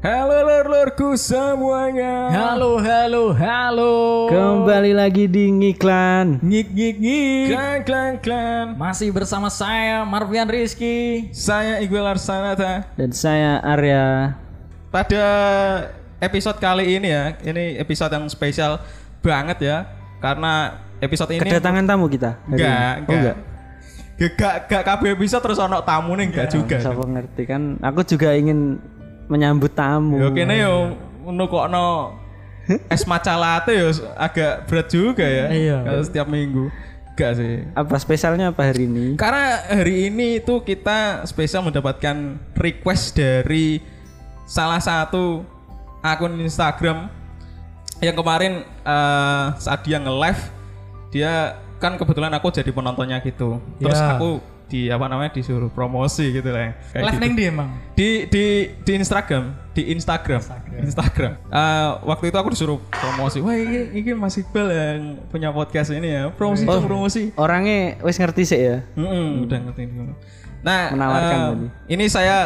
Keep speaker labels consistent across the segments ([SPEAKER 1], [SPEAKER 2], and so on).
[SPEAKER 1] Halo lor-lorku semuanya.
[SPEAKER 2] Halo, halo, halo.
[SPEAKER 3] Kembali lagi di ngiklan.
[SPEAKER 2] Ngik, ngik, ngik.
[SPEAKER 1] Klan klan klan.
[SPEAKER 2] Masih bersama saya, Marvian Rizky.
[SPEAKER 1] Saya Iqbal Arsanata.
[SPEAKER 3] Dan saya Arya.
[SPEAKER 1] Pada episode kali ini ya, ini episode yang spesial banget ya karena episode ini
[SPEAKER 3] Kedatangan tamu kita. hari
[SPEAKER 1] enggak
[SPEAKER 3] ini. Oh,
[SPEAKER 1] enggak. Gak, gak, gak kabeh episode terus ono tamu nih enggak juga.
[SPEAKER 3] Siapa ngerti kan? Aku juga ingin menyambut tamu.
[SPEAKER 1] Yo kene yo ngono kokno es matcha latte yo agak berat juga ya.
[SPEAKER 2] Iya.
[SPEAKER 1] Kalau setiap minggu. Enggak sih.
[SPEAKER 3] Apa spesialnya apa hari ini?
[SPEAKER 1] Karena hari ini itu kita spesial mendapatkan request dari salah satu akun Instagram yang kemarin eh, saat dia nge-live dia kan kebetulan aku jadi penontonnya gitu. Terus
[SPEAKER 2] Ya.
[SPEAKER 1] aku di apa namanya disuruh promosi gitu lah. Kayak
[SPEAKER 2] Live
[SPEAKER 1] gitu.
[SPEAKER 2] neng di emang.
[SPEAKER 1] di di di Instagram, di Instagram, Instagram. Eh, waktu itu aku disuruh promosi. Wah, ini, ini Mas Iqbal yang punya podcast ini ya. Promosi, dong, promosi.
[SPEAKER 3] Orangnya wis ngerti sih ya.
[SPEAKER 1] Mm-mm, udah ngerti dulu. Nah,
[SPEAKER 3] Menawarkan
[SPEAKER 1] eh,
[SPEAKER 3] tadi.
[SPEAKER 1] ini saya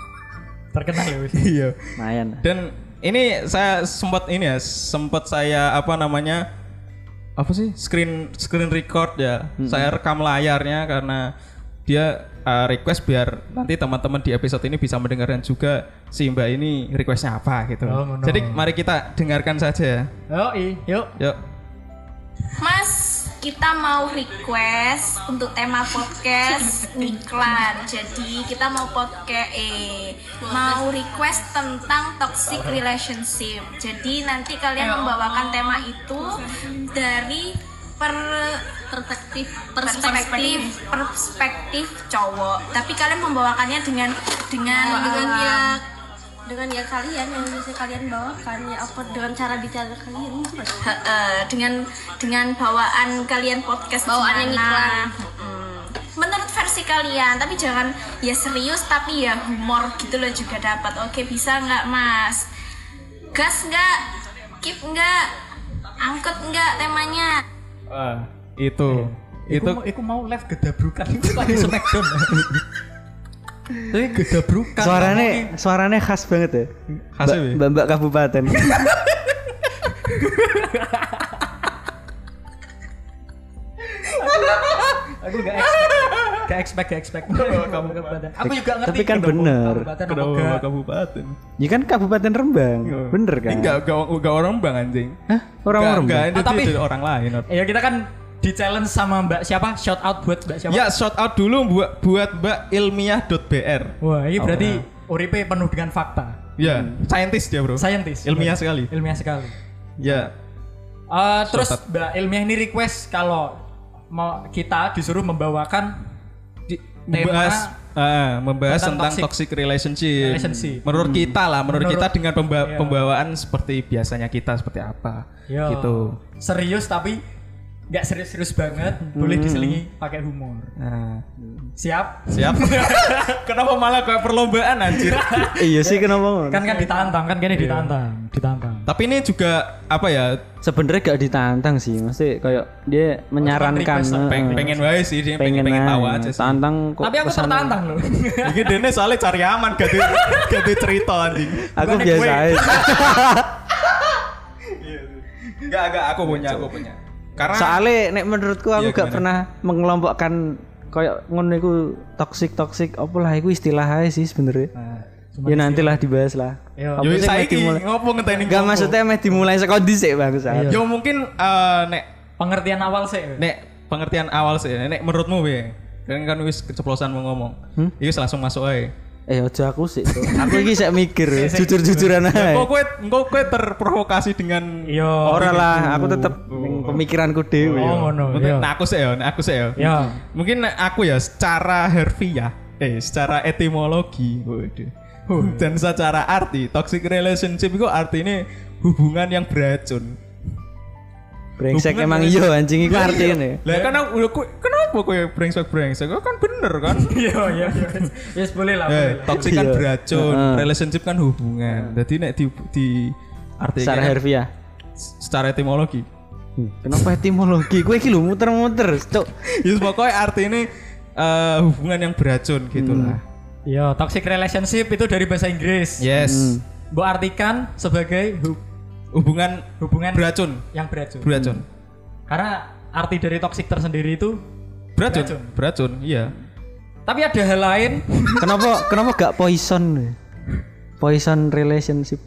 [SPEAKER 2] Terkenal ya wis.
[SPEAKER 1] iya.
[SPEAKER 3] Lumayan.
[SPEAKER 1] Dan ini saya sempat ini ya, sempat saya apa namanya? Apa sih? Screen screen record ya. Saya rekam layarnya karena dia eh, request biar nanti teman-teman di episode ini bisa mendengarkan juga si Mbak ini requestnya apa gitu.
[SPEAKER 2] Oh, ngono.
[SPEAKER 1] Jadi mari kita dengarkan saja ya.
[SPEAKER 2] Yoi, Oh, iya. yuk.
[SPEAKER 1] Yuk.
[SPEAKER 4] Mas, kita mau request untuk tema podcast iklan. Jadi kita mau podcast eh mau request tentang toxic relationship. Jadi nanti kalian membawakan tema itu dari per perspektif perspektif perspektif cowok. Tapi kalian membawakannya dengan dengan
[SPEAKER 5] dengan
[SPEAKER 4] alam.
[SPEAKER 5] ya dengan ya kalian yang bisa kalian bawakan ya apa dengan cara bicara kalian coba.
[SPEAKER 4] Heeh, dengan dengan bawaan kalian podcast
[SPEAKER 5] Bawaan yang
[SPEAKER 4] gimana. Mm. menurut versi kalian tapi jangan ya serius tapi ya humor gitu loh juga dapat oke bisa nggak mas gas nggak keep nggak angkut nggak temanya
[SPEAKER 1] Ah, itu. Itu
[SPEAKER 2] Iku, iku mau live gedabrukan. Iku lagi smackdown. Tapi gedabrukan.
[SPEAKER 3] Suaranya suaranya khas banget ya.
[SPEAKER 1] Kan Khas ya, Bi?
[SPEAKER 3] Mbak- Mbak-mbak kabupaten.
[SPEAKER 2] Aku gak expect. Gak expect, gak expect. Kamu kabupaten. Aku juga ngerti. gitu,
[SPEAKER 3] Tapi kan
[SPEAKER 2] kedabuk-
[SPEAKER 3] bener.
[SPEAKER 2] Kabupaten apa
[SPEAKER 1] kenapa
[SPEAKER 2] gak.
[SPEAKER 1] kabupaten?
[SPEAKER 3] Ya kan Kabupaten Rembang. Bener kan?
[SPEAKER 1] Iya. Enggak, enggak, enggak orang bang anjing.
[SPEAKER 3] Hah? Orang
[SPEAKER 1] Enggak,
[SPEAKER 3] Rembang.
[SPEAKER 1] enggak,
[SPEAKER 2] Oh, tapi-
[SPEAKER 1] itu orang lain. Or.
[SPEAKER 2] Ya kita kan di challenge sama Mbak siapa? Shout out buat Mbak siapa?
[SPEAKER 1] Ya, shout out dulu buat buat Mbak ilmiah.br.
[SPEAKER 2] Wah,
[SPEAKER 3] Oh,
[SPEAKER 2] ini berarti
[SPEAKER 3] ya.
[SPEAKER 2] uripe penuh dengan fakta.
[SPEAKER 1] Ya, scientist dia, Bro.
[SPEAKER 2] Hmm. Saintis.
[SPEAKER 1] Ilmiah sekali.
[SPEAKER 2] Ilmiah sekali.
[SPEAKER 1] Ya.
[SPEAKER 2] Eh, terus
[SPEAKER 1] Sotat.
[SPEAKER 2] Mbak Ilmiah ini request kalau mau kita disuruh membawakan di- tema
[SPEAKER 1] Membahas ah, membahas
[SPEAKER 2] tentang
[SPEAKER 1] tentang, toxic, relationship.
[SPEAKER 2] relationship. Hmm.
[SPEAKER 1] Menurut kita lah, menurut,
[SPEAKER 2] Menurut-
[SPEAKER 1] kita dengan pemba-
[SPEAKER 2] Iya.
[SPEAKER 1] pembawaan seperti biasanya kita seperti apa.
[SPEAKER 2] yo,
[SPEAKER 1] Gitu.
[SPEAKER 2] serius tapi nggak serius-serius banget, boleh diselingi pakai humor.
[SPEAKER 1] Nah,
[SPEAKER 2] Siap?
[SPEAKER 1] siap. Kenapa malah kayak perlombaan anjir?
[SPEAKER 3] Iya sih kenapa? ngono?
[SPEAKER 2] Kan kan ditantang kan kayaknya ditantang, ditantang.
[SPEAKER 1] Tapi ini juga apa ya?
[SPEAKER 3] Sebenarnya gak ditantang sih, mesti kayak dia menyarankan
[SPEAKER 2] request lah,
[SPEAKER 3] eh,
[SPEAKER 1] Peng- kan pengen wae sih, dia pengen,
[SPEAKER 3] pengen,
[SPEAKER 1] pengen tahu
[SPEAKER 3] aja.
[SPEAKER 1] aja sih.
[SPEAKER 3] Tantang kok.
[SPEAKER 2] Tapi aku
[SPEAKER 3] pesan-
[SPEAKER 2] tertantang loh.
[SPEAKER 1] Ini Dene soalnya cari aman, gak ada gak ada cerita anjing.
[SPEAKER 3] Aku
[SPEAKER 2] Bukan
[SPEAKER 3] biasa
[SPEAKER 2] gue.
[SPEAKER 3] aja.
[SPEAKER 1] Enggak, enggak, aku punya, aku punya. Karena
[SPEAKER 3] Soalnya nek menurutku aku
[SPEAKER 1] Iya, gimana?
[SPEAKER 3] gak pernah mengelompokkan kayak ngono iku toxic toxic apalah iku istilah ae sih sebenarnya.
[SPEAKER 1] Nah,
[SPEAKER 3] ya nantilah dibahas lah.
[SPEAKER 2] Yo.
[SPEAKER 3] Apa
[SPEAKER 1] Iya. yo
[SPEAKER 3] sih meh
[SPEAKER 1] saiki
[SPEAKER 3] dimulai?
[SPEAKER 1] ngopo ngenteni
[SPEAKER 3] Gak
[SPEAKER 1] ngopo?
[SPEAKER 3] maksudnya meh dimulai saka dhisik bagus
[SPEAKER 2] Iya.
[SPEAKER 1] Yo mungkin eh, nek
[SPEAKER 2] Pengertian awal sih.
[SPEAKER 1] nek pengertian awal sih, nek menurutmu be. Kan kan wis keceplosan mau ngomong.
[SPEAKER 3] Hmm?
[SPEAKER 1] Iki langsung masuk ae.
[SPEAKER 3] Eh aja aku sih. Cok. aku iki sek mikir, jujur-jujuran ae.
[SPEAKER 1] Iya, Kok kowe engko kowe terprovokasi dengan
[SPEAKER 2] Yo.
[SPEAKER 3] Ora lah, aku tetep ning pemikiranku dhewe.
[SPEAKER 2] Oh ngono. Iya.
[SPEAKER 1] Mungkin-
[SPEAKER 2] Yo.
[SPEAKER 1] Nah, aku sih ya, nah, aku sih ya.
[SPEAKER 2] Yo.
[SPEAKER 1] Mungkin nek aku ya secara harfiah, eh secara etimologi, waduh. Dan secara arti, toxic relationship itu artinya hubungan yang beracun.
[SPEAKER 3] Brengsek
[SPEAKER 1] Hubungan
[SPEAKER 3] emang
[SPEAKER 1] dengan-
[SPEAKER 3] iya anjing iku
[SPEAKER 1] Lah,
[SPEAKER 3] artine.
[SPEAKER 1] iya. Lah kan aku lho, ku- kenapa kowe brengsek-brengsek? Kau kan bener kan?
[SPEAKER 2] Yo yo yo. Iya, Yes boleh lah. boleh
[SPEAKER 1] Eh,
[SPEAKER 2] lah.
[SPEAKER 1] toxic kan
[SPEAKER 3] Iya.
[SPEAKER 1] beracun,
[SPEAKER 3] Heeh.
[SPEAKER 1] relationship kan hubungan. Jadi nek di di artinya
[SPEAKER 3] Secara harfiah.
[SPEAKER 1] secara etimologi. Hmm.
[SPEAKER 3] Kenapa etimologi? Gue iki lho muter-muter, cok.
[SPEAKER 1] Ya pokoknya artinya eh,
[SPEAKER 3] Hmm.
[SPEAKER 1] hubungan yang beracun gitu lah.
[SPEAKER 2] Iya,
[SPEAKER 1] Iya.
[SPEAKER 2] Yo, toxic relationship itu dari bahasa Inggris.
[SPEAKER 3] Hmm.
[SPEAKER 1] Yes.
[SPEAKER 2] Mbok artikan sebagai hub-
[SPEAKER 1] Hubungan
[SPEAKER 2] hubungan
[SPEAKER 1] beracun,
[SPEAKER 2] yang beracun.
[SPEAKER 1] beracun.
[SPEAKER 2] Karena arti dari toksik tersendiri itu
[SPEAKER 1] Beracun,
[SPEAKER 2] Beracun.
[SPEAKER 1] beracun, iya.
[SPEAKER 2] tapi ada hal lain
[SPEAKER 3] kenapa kenapa gak poison? Poison relationship.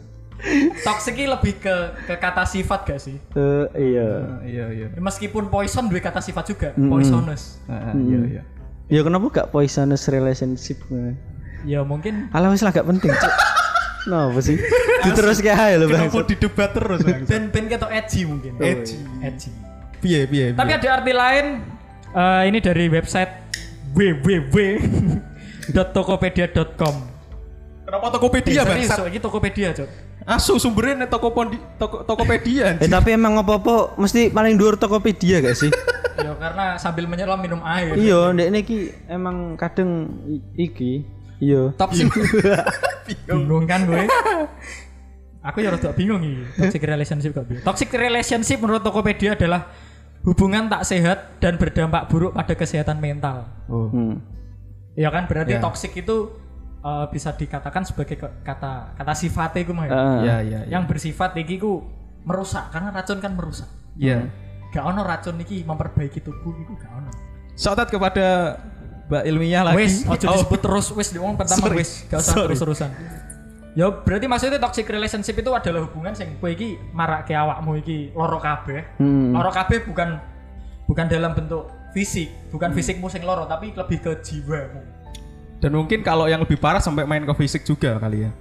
[SPEAKER 2] toksik ini lebih ke ke kata sifat gak sih?
[SPEAKER 3] Eh iya.
[SPEAKER 1] iya, iya.
[SPEAKER 2] Meskipun poison dua kata sifat juga, poisonous.
[SPEAKER 1] iya, iya.
[SPEAKER 3] Ya kenapa gak poisonous relationship? eh?
[SPEAKER 2] Ya mungkin
[SPEAKER 3] Alah wis lah gak penting. Cuk. Kenapa sih? Diterus kayak ae lho Bang.
[SPEAKER 1] Kenapa didebat terus, Bang?
[SPEAKER 2] band-band ketok edgy mungkin.
[SPEAKER 1] Edgy.
[SPEAKER 2] Edgy.
[SPEAKER 1] Piye, piye,
[SPEAKER 2] Tapi ada arti lain eh, ini dari website www.tokopedia.com.
[SPEAKER 1] Kenapa Tokopedia, Iya, Bang?
[SPEAKER 2] Serius, Cok, ini Tokopedia, Cok.
[SPEAKER 1] Asu sumbernya nih Tokopondi, Toko, Tokopedia.
[SPEAKER 3] Eh tapi emang apa-apa mesti paling dhuwur Tokopedia gak sih?
[SPEAKER 2] Ya karena sambil menyelam minum air.
[SPEAKER 3] iya, ndek niki emang kadang i- iki. Iya.
[SPEAKER 2] Toxic. bingung kan gue. Aku ya rada bingung ini. Toxic relationship gak bingung. Toxic relationship menurut Tokopedia adalah hubungan tak sehat dan berdampak buruk pada kesehatan mental.
[SPEAKER 1] Oh,
[SPEAKER 3] Hmm.
[SPEAKER 2] Ya kan berarti toxic itu eh, bisa dikatakan sebagai ke- kata kata sifatnya gue mah. ya.
[SPEAKER 3] Ah.
[SPEAKER 1] Iya, iya, iya.
[SPEAKER 2] Yang bersifat iki ku merusak karena racun kan merusak.
[SPEAKER 1] Iya.
[SPEAKER 2] Gak ono racun iki memperbaiki tubuh iku gak ono.
[SPEAKER 1] Shout out kepada Mbak Ilmiah lagi.
[SPEAKER 2] Wes, ojo
[SPEAKER 1] Oh,
[SPEAKER 2] disebut terus wes diomong pertama
[SPEAKER 1] Sorry.
[SPEAKER 2] wes, gak usah
[SPEAKER 1] Sorry.
[SPEAKER 2] terus-terusan. Ya berarti maksudnya toxic relationship itu adalah hubungan sing kowe iki marake awakmu iki loro kabeh. Loro kabeh bukan bukan dalam bentuk fisik, bukan fisikmu sing loro tapi lebih ke jiwamu.
[SPEAKER 1] Dan mungkin kalau yang lebih parah sampai main ke fisik juga kali ya.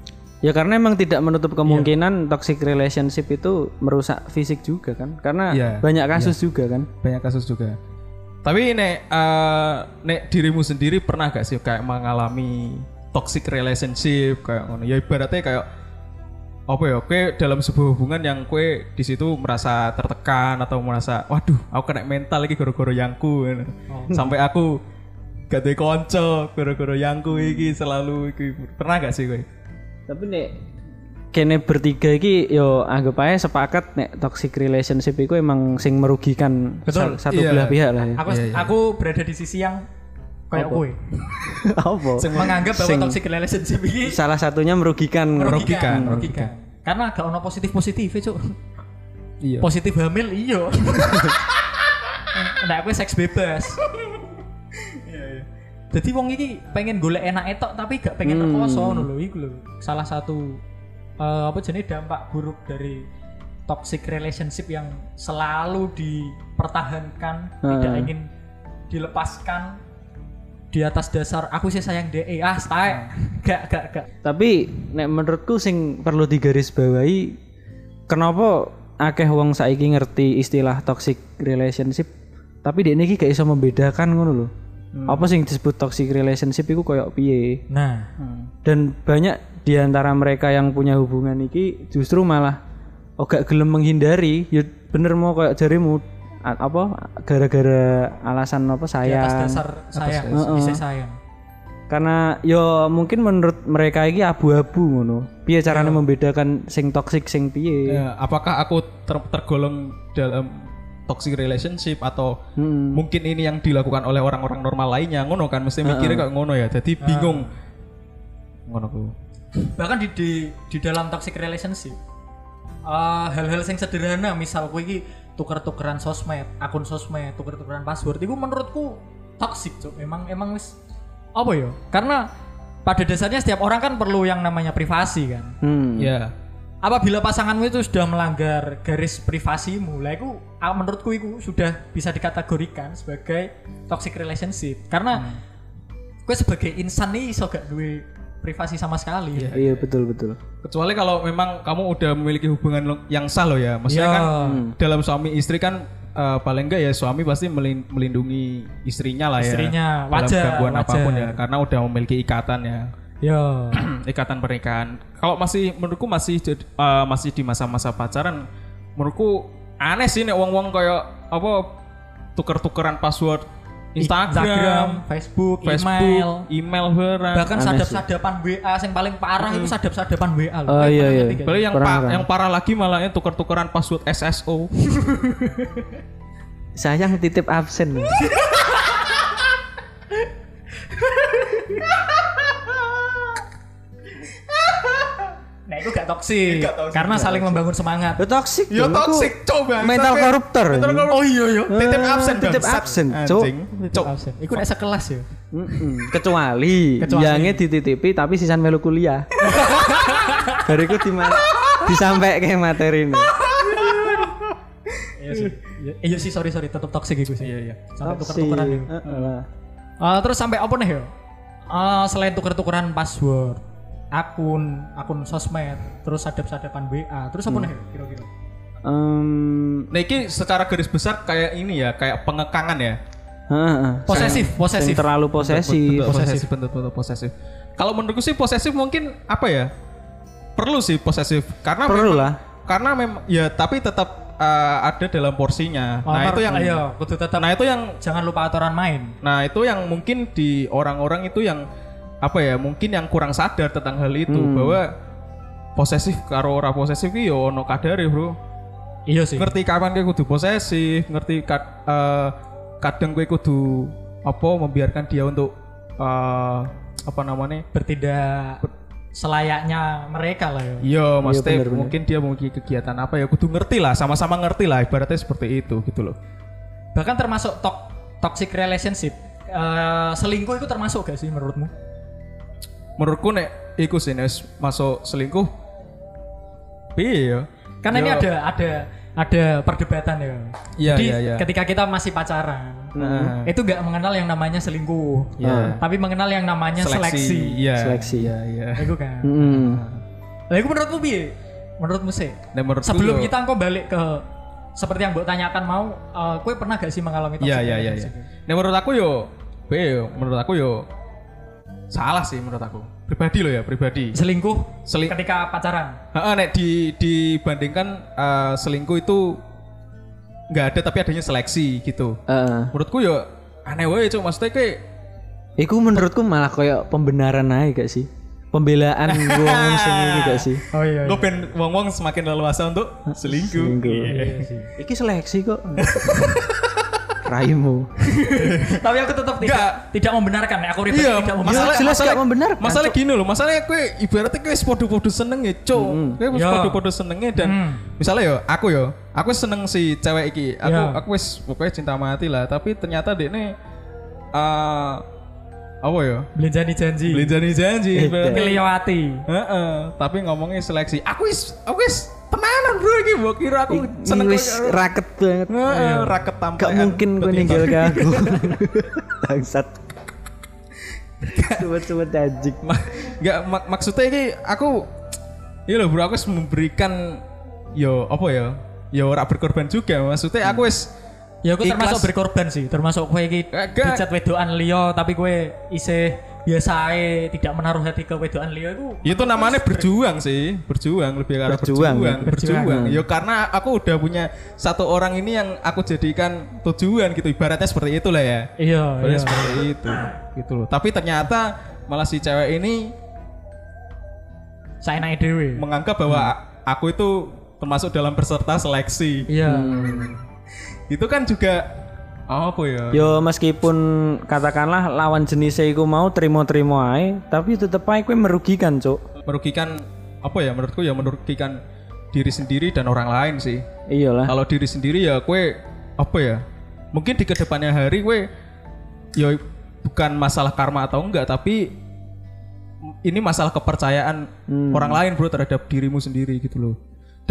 [SPEAKER 3] Ya karena emang tidak
[SPEAKER 1] Iya.
[SPEAKER 3] menutup kemungkinan toxic relationship itu merusak fisik juga kan? Karena
[SPEAKER 1] Iya,
[SPEAKER 3] banyak kasus juga kan?
[SPEAKER 1] Banyak kasus juga. Tapi nek eh, nek dirimu sendiri pernah gak sih kayak mengalami toxic relationship kayak ngono? Ya ibaratnya kayak apa ya? Kue dalam sebuah hubungan yang kue di situ merasa tertekan atau merasa waduh, aku kena mental lagi gara-gara yangku. ngono. Sampai aku gak ada konco gara-gara yangku iki selalu iki. Pernah gak sih kowe?
[SPEAKER 3] Tapi nek kene bertiga iki yo anggap aja sepakat nek toxic relationship itu emang sing merugikan
[SPEAKER 2] Betul.
[SPEAKER 3] sa- satu
[SPEAKER 1] Iya.
[SPEAKER 3] belah pihak lah ya.
[SPEAKER 2] Aku aku berada di sisi yang kayak kowe.
[SPEAKER 3] Apa?
[SPEAKER 2] Sing menganggap bahwa toxic relationship iki
[SPEAKER 3] Salah satunya merugikan.
[SPEAKER 1] merugikan.
[SPEAKER 2] merugikan, merugikan. Karena gak ono positif positif cuk.
[SPEAKER 1] Iya.
[SPEAKER 2] Positif hamil iya. Nah, aku seks bebas. Jadi wong iki pengen golek enak etok tapi gak pengen rekoso ngono lho iku lho. Salah satu eh, apa jenis dampak buruk dari toxic relationship yang selalu dipertahankan, tidak ingin dilepaskan di atas dasar aku sih sayang DE ah stay gak gak gak
[SPEAKER 3] Tapi nek menurutku sing perlu digarisbawahi kenapa akeh wong saiki ngerti istilah toxic relationship tapi dia iki gak iso membedakan ngono lho.
[SPEAKER 2] Hmm.
[SPEAKER 3] Apa sing disebut toxic relationship iku koyok piye?
[SPEAKER 2] nah
[SPEAKER 3] Dan banyak di antara mereka yang punya hubungan iki justru malah oh gak gelem menghindari, ya bener mau koyok jarimu a- apa gara-gara alasan apa
[SPEAKER 2] di
[SPEAKER 3] sayang.
[SPEAKER 2] atas dasar sayang bisa sayang
[SPEAKER 3] karena yo mungkin menurut mereka ini abu-abu ngono piye caranya membedakan sing toksik sing piye
[SPEAKER 1] Ya, apakah aku ter- tergolong dalam toxic relationship atau mungkin ini yang dilakukan oleh orang-orang normal lainnya ngono kan mesti mikirnya kayak ngono ya jadi bingung ngono ku
[SPEAKER 2] bahkan di di, di dalam toxic relationship eh, hal-hal yang sederhana misal kowe iki tuker-tukeran sosmed akun sosmed tuker-tukeran password itu menurutku toxic cok emang emang wis apa ya karena pada dasarnya setiap orang kan perlu yang namanya privasi kan
[SPEAKER 3] hmm.
[SPEAKER 1] ya
[SPEAKER 2] apabila pasanganmu itu sudah melanggar garis privasimu lah itu ah, menurutku itu sudah bisa dikategorikan sebagai toxic relationship karena gue sebagai insan nih iso gak duwe privasi sama sekali
[SPEAKER 3] iya betul betul
[SPEAKER 1] kecuali kalau memang kamu udah memiliki hubungan lo- yang sah loh ya maksudnya
[SPEAKER 2] Ya.
[SPEAKER 1] kan dalam suami istri kan eh, paling enggak ya suami pasti melin- melindungi istrinya lah ya
[SPEAKER 2] Istrinya,
[SPEAKER 1] dalam
[SPEAKER 2] wajar,
[SPEAKER 1] gangguan
[SPEAKER 2] wajar.
[SPEAKER 1] apapun ya karena udah memiliki ikatan ya
[SPEAKER 2] ya
[SPEAKER 1] Hmm, ikatan pernikahan. Kalau masih menurutku masih jad- eh, masih di masa-masa pacaran, menurutku aneh sih nek wong-wong kayak apa tuker-tukeran password Instagram,
[SPEAKER 2] Facebook,
[SPEAKER 1] Facebook,
[SPEAKER 2] email,
[SPEAKER 1] email, barang.
[SPEAKER 2] bahkan sadap-sadapan WA yang paling parah itu sadap-sadapan WA loh.
[SPEAKER 3] Oh,
[SPEAKER 2] Eh,
[SPEAKER 3] iya,
[SPEAKER 2] pernah
[SPEAKER 3] iya.
[SPEAKER 2] ngerti gak?
[SPEAKER 1] Balik yang
[SPEAKER 3] Barang,
[SPEAKER 1] pa-
[SPEAKER 3] barang.
[SPEAKER 1] yang parah lagi malahnya tuker-tukeran password SSO.
[SPEAKER 3] sayang titip absen
[SPEAKER 2] Nah, itu gak toksik
[SPEAKER 1] Gak toksik,
[SPEAKER 2] karena
[SPEAKER 1] gak
[SPEAKER 2] saling membangun semangat
[SPEAKER 3] Yo Ya toxic.
[SPEAKER 1] Yo
[SPEAKER 3] dong,
[SPEAKER 1] Ya toxic,
[SPEAKER 3] iku
[SPEAKER 1] coba.
[SPEAKER 3] Mental
[SPEAKER 1] Sampai-
[SPEAKER 3] koruptor.
[SPEAKER 1] Mental koruptor. Oh iya iya. Titip
[SPEAKER 3] Ah,
[SPEAKER 1] absen.
[SPEAKER 3] titip
[SPEAKER 1] bangsat.
[SPEAKER 3] absen, Cuk.
[SPEAKER 1] Anjing. Cuk.
[SPEAKER 2] Absen. Iku nek sekelas ya.
[SPEAKER 3] Mm-mm. Kecuali,
[SPEAKER 2] Kecuali.
[SPEAKER 3] yangnya dititipi tapi sisan melu kuliah. Bariku di disampaikan ke materi ini.
[SPEAKER 2] Iya sih. Eh, Iya sih sorry sorry tetap toksik iku sih. Iya iya.
[SPEAKER 1] Oh,
[SPEAKER 2] Sampai tuker-tukeran.
[SPEAKER 3] Toxic.
[SPEAKER 2] iku.
[SPEAKER 3] Heeh lah.
[SPEAKER 2] Eh, terus sampai apa nih ya? Eh, selain tuker-tukeran password, akun, akun sosmed, terus sadap-sadapan WA, terus apa nih ya kira-kira?
[SPEAKER 3] Em,
[SPEAKER 1] Nah ini secara garis besar kayak ini ya, kayak pengekangan ya.
[SPEAKER 3] heeh, heeh.
[SPEAKER 2] Posesif,
[SPEAKER 3] Yang
[SPEAKER 2] posesif.
[SPEAKER 3] terlalu posesif.
[SPEAKER 1] Bentuk posesif, bentuk-bentuk posesif. Kalau menurutku sih posesif mungkin apa ya? Perlu sih posesif karena
[SPEAKER 3] Perlu
[SPEAKER 1] memang-
[SPEAKER 3] lah.
[SPEAKER 1] Karena memang ya tapi tetap eh, ada dalam porsinya.
[SPEAKER 2] Oh,
[SPEAKER 1] nah,
[SPEAKER 2] ntar-
[SPEAKER 1] itu yang
[SPEAKER 2] ayo, kudu tetap
[SPEAKER 1] Nah, itu yang
[SPEAKER 2] jangan lupa aturan main.
[SPEAKER 1] nah itu yang mungkin di orang-orang itu yang apa ya? Mungkin yang kurang sadar tentang hal itu bahwa posesif karo ora posesif ki yo ono kadare, Bro.
[SPEAKER 2] Iya sih.
[SPEAKER 1] ngerti kapan kowe kudu posesif, ngerti kad, eh, kadang kowe kudu apa membiarkan dia untuk eh, apa namanya?
[SPEAKER 2] Bertindak selayaknya mereka lah ya.
[SPEAKER 1] Iya, Mas Tep,
[SPEAKER 3] bener, bener.
[SPEAKER 1] mungkin dia memiliki kegiatan apa ya kudu ngerti lah, sama-sama ngerti lah ibaratnya seperti itu gitu loh.
[SPEAKER 2] Bahkan termasuk tok- toxic relationship. Eh, selingkuh itu termasuk gak sih menurutmu?
[SPEAKER 1] Menurutku nek iku sih nek wis masuk selingkuh piye ya?
[SPEAKER 2] Karena ini
[SPEAKER 1] Yo.
[SPEAKER 2] ada ada ada perdebatan ya.
[SPEAKER 1] Iya,
[SPEAKER 2] Jadi
[SPEAKER 1] iya, iya.
[SPEAKER 2] ketika kita masih pacaran,
[SPEAKER 1] Nah,
[SPEAKER 2] itu nggak mengenal yang namanya selingkuh, Nah,
[SPEAKER 1] Iya.
[SPEAKER 2] tapi mengenal yang namanya seleksi.
[SPEAKER 1] Iya.
[SPEAKER 3] Seleksi.
[SPEAKER 1] Iya, iya.
[SPEAKER 2] Itu kan.
[SPEAKER 3] Mm-mm.
[SPEAKER 2] Lah itu menurutmu piye? Menurutmu sih?
[SPEAKER 1] Nek Nah, menurutku
[SPEAKER 2] Sebelum
[SPEAKER 1] yo-
[SPEAKER 2] kita engko balik ke seperti yang Mbok tanyakan mau, eh, kue pernah gak sih mengalami toxic
[SPEAKER 1] Iya iya iya. iya.
[SPEAKER 2] relationship?
[SPEAKER 1] Nah menurut aku yo, B yo, menurut aku yo salah sih menurut aku. Pribadi loh ya pribadi.
[SPEAKER 2] Selingkuh
[SPEAKER 1] Seling-
[SPEAKER 2] ketika pacaran.
[SPEAKER 1] Heeh, nek di dibandingkan eh, selingkuh itu nggak ada tapi adanya seleksi gitu.
[SPEAKER 3] Heeh.
[SPEAKER 1] Menurutku yo aneh wae cuk maksudnya kayak
[SPEAKER 3] Iku menurutku malah kayak pembenaran aja gak sih? Pembelaan wong sing ini gak sih?
[SPEAKER 2] Oh iya.
[SPEAKER 1] gue pengen wong-wong semakin leluasa untuk selingkuh.
[SPEAKER 3] Selingkuh.
[SPEAKER 1] Iya.
[SPEAKER 3] Iki seleksi kok. Raimu.
[SPEAKER 2] tapi aku tetap tidak
[SPEAKER 1] Nggak.
[SPEAKER 2] tidak membenarkan. Aku pribadi
[SPEAKER 1] Iya,
[SPEAKER 2] tidak membenarkan.
[SPEAKER 1] masalah,
[SPEAKER 3] jelas
[SPEAKER 1] masalah,
[SPEAKER 3] gak membenarkan,
[SPEAKER 1] masalah gini loh, masalahnya kue ibaratnya kue podo-podo seneng ya, cok.
[SPEAKER 3] Mm-hmm.
[SPEAKER 1] Kue wis
[SPEAKER 2] Iya.
[SPEAKER 1] podo-podo senengnya dan
[SPEAKER 2] Hmm.
[SPEAKER 1] misalnya yo, aku yo, aku seneng si cewek iki, aku
[SPEAKER 2] Iya.
[SPEAKER 1] aku wis pokoknya cinta mati lah, tapi ternyata dia ini eh apa yo,
[SPEAKER 2] Belenjani janji.
[SPEAKER 1] beli janji-janji,
[SPEAKER 3] Iya.
[SPEAKER 1] ibaratnya.
[SPEAKER 2] Ngeliwati.
[SPEAKER 1] Heeh, tapi ngomongnya seleksi, aku wis, aku wis tenanan bro, iki mbok kira aku seneng
[SPEAKER 3] Seneng wis
[SPEAKER 1] karo-
[SPEAKER 3] raket banget.
[SPEAKER 1] Heeh, raket tampil.
[SPEAKER 3] Gak mungkin gue ninggal ke aku. Bangsat. Cuma-cuma tajik.
[SPEAKER 1] Ma- nggak mak- maksudnya ini aku ya loh bro aku wis memberikan yo apa ya yo ora berkorban juga maksudnya aku wis
[SPEAKER 2] Ya aku termasuk
[SPEAKER 1] Ikhlas. Eh,
[SPEAKER 2] berkorban sih, termasuk kue iki
[SPEAKER 1] Gak- gak.
[SPEAKER 2] dicat wedoan liya tapi kue isih biasae tidak menaruh hati ke wedoan liya iku.
[SPEAKER 1] ya itu namanya berjuang sih berjuang lebih karena berjuang
[SPEAKER 3] Berjuang, ya.
[SPEAKER 1] berjuang,
[SPEAKER 3] berjuang.
[SPEAKER 1] yo karena aku udah punya satu orang ini yang aku jadikan tujuan gitu ibaratnya seperti itulah ya
[SPEAKER 2] Iya,
[SPEAKER 1] ibaratnya
[SPEAKER 2] iya.
[SPEAKER 1] seperti itu gitu loh tapi ternyata malah si cewek ini
[SPEAKER 2] Saya naik dewe.
[SPEAKER 1] menganggap bahwa a- aku itu termasuk dalam peserta seleksi
[SPEAKER 2] Iya.
[SPEAKER 1] Hmm. itu kan juga apa ya
[SPEAKER 3] Yo meskipun katakanlah lawan jenisnya iku mau terima-terima ae, tapi tetep ae kowe merugikan, Cuk.
[SPEAKER 1] merugikan apa ya menurutku ya merugikan diri sendiri dan orang lain sih.
[SPEAKER 3] Iyalah.
[SPEAKER 1] Kalau diri sendiri ya kue apa ya? Mungkin di kedepannya hari kue ya bukan masalah karma atau enggak tapi ini masalah kepercayaan orang lain bro terhadap dirimu sendiri gitu loh.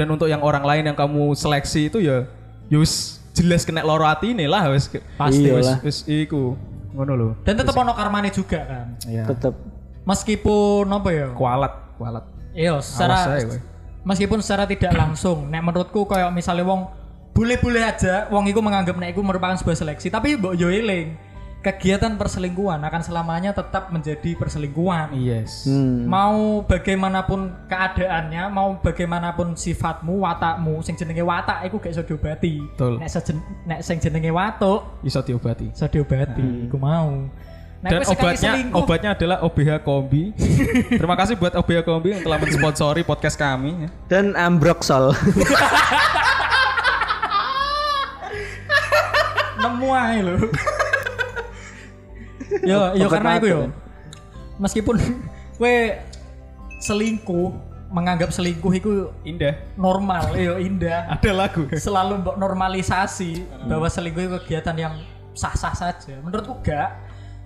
[SPEAKER 1] Dan untuk yang orang lain yang kamu seleksi itu ya ya wis jelas kena loro hati ini lah wis
[SPEAKER 2] Pasti.
[SPEAKER 1] wis
[SPEAKER 3] Iyalah.
[SPEAKER 1] wis iku ngono loh.
[SPEAKER 2] Dan tetap ono karmane juga kan.
[SPEAKER 1] Iya.
[SPEAKER 3] Tetep.
[SPEAKER 2] Meskipun apa ya?
[SPEAKER 1] Kualat, kualat.
[SPEAKER 2] Iya, secara
[SPEAKER 1] ae, weh.
[SPEAKER 2] meskipun secara tidak langsung, nek menurutku kayak misalnya wong boleh-boleh aja wong iku menganggap nek iku merupakan sebuah seleksi, tapi mbok yo eling. Kegiatan perselingkuhan akan selamanya tetap menjadi perselingkuhan.
[SPEAKER 1] Yes.
[SPEAKER 3] Hmm.
[SPEAKER 2] mau bagaimanapun keadaannya mau bagaimanapun sifatmu watakmu sing jenenge watak iku gak iso diobati
[SPEAKER 1] Betul.
[SPEAKER 2] nek sejen, nek sing jenenge watuk
[SPEAKER 1] Bisa diobati.
[SPEAKER 2] iso diobati iku mau Nek
[SPEAKER 1] Dan
[SPEAKER 2] wis sekali
[SPEAKER 1] obatnya
[SPEAKER 2] selingkuh,
[SPEAKER 1] obatnya adalah OBH Kombi. Terima kasih buat OBH Kombi yang telah mensponsori podcast kami. ya.
[SPEAKER 3] Dan ambroxol.
[SPEAKER 2] nemu ae lho yo yo
[SPEAKER 3] Obat ya?
[SPEAKER 2] karena iku yo
[SPEAKER 3] watuk.
[SPEAKER 2] meskipun kowe selingkuh menganggap selingkuh itu
[SPEAKER 1] Indah.
[SPEAKER 2] normal, yo indah.
[SPEAKER 1] Ada lagu.
[SPEAKER 2] Selalu mbok normalisasi bahwa selingkuh itu kegiatan yang sah-sah saja. Menurutku gak.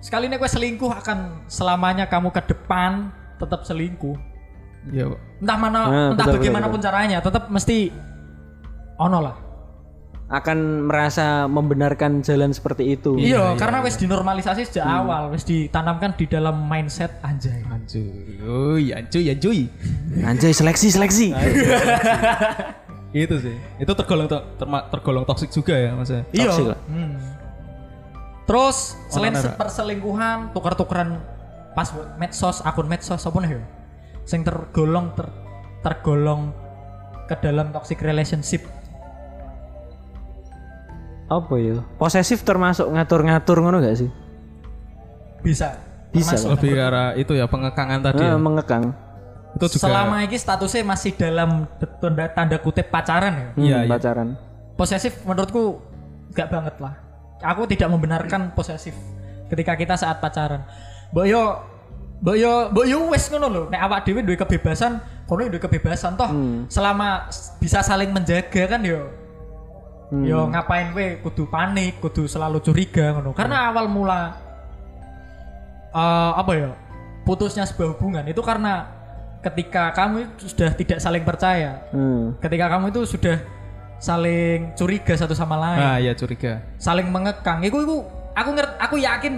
[SPEAKER 2] Sekali nek kowe selingkuh akan selamanya kamu ke depan tetap selingkuh.
[SPEAKER 1] Iya, Pak.
[SPEAKER 2] Entah mana,
[SPEAKER 3] Nah,
[SPEAKER 2] entah
[SPEAKER 3] betul,
[SPEAKER 2] bagaimanapun caranya, tetap mesti ono lah.
[SPEAKER 3] akan merasa membenarkan jalan seperti itu.
[SPEAKER 2] Iya, karena wes dinormalisasi sejak awal, wes ditanamkan di dalam mindset anjay.
[SPEAKER 1] Ancuy. Oh, iya, ancuy, ancuy.
[SPEAKER 3] Anjay seleksi seleksi.
[SPEAKER 1] Itu sih. Itu tergolong to- terma- tergolong toksik juga ya, Mas. ya?
[SPEAKER 2] Iya.
[SPEAKER 3] Toxic lah.
[SPEAKER 2] Hmm. Terus selain
[SPEAKER 1] Ono-ono.
[SPEAKER 2] perselingkuhan, tukar-tukaran password medsos, akun medsos apa nih ya? Sing tergolong ter- tergolong ke dalam toxic relationship.
[SPEAKER 3] Apa ya? Posesif termasuk ngatur-ngatur ngono gak sih?
[SPEAKER 2] Bisa.
[SPEAKER 3] Bisa
[SPEAKER 2] Termasuk.
[SPEAKER 3] lah.
[SPEAKER 1] Lebih ke arah itu ya pengekangan tadi.
[SPEAKER 3] Eh,
[SPEAKER 1] ya.
[SPEAKER 3] mengekang.
[SPEAKER 1] Itu juga
[SPEAKER 2] Selama ini statusnya masih dalam tanda, tanda kutip pacaran ya.
[SPEAKER 3] Hmm,
[SPEAKER 1] Iya, iya.
[SPEAKER 3] pacaran.
[SPEAKER 2] Posesif menurutku gak banget lah. Aku tidak membenarkan posesif ketika kita saat pacaran. Mbok yo Mbok yo mbok yo wis ngono lho. Nek awak dhewe duwe kebebasan, kono yo duwe kebebasan toh. Selama s- bisa saling menjaga kan yo. Yo ngapain kowe kudu panik, kudu selalu curiga ngono. Karena awal mula eh apa ya? Putusnya sebuah hubungan itu karena ketika kamu itu sudah tidak saling percaya,
[SPEAKER 3] Hmm.
[SPEAKER 2] ketika kamu itu sudah saling curiga satu sama lain,
[SPEAKER 1] Ah, ya curiga.
[SPEAKER 2] saling mengekang. Iku iku aku ngerti, aku yakin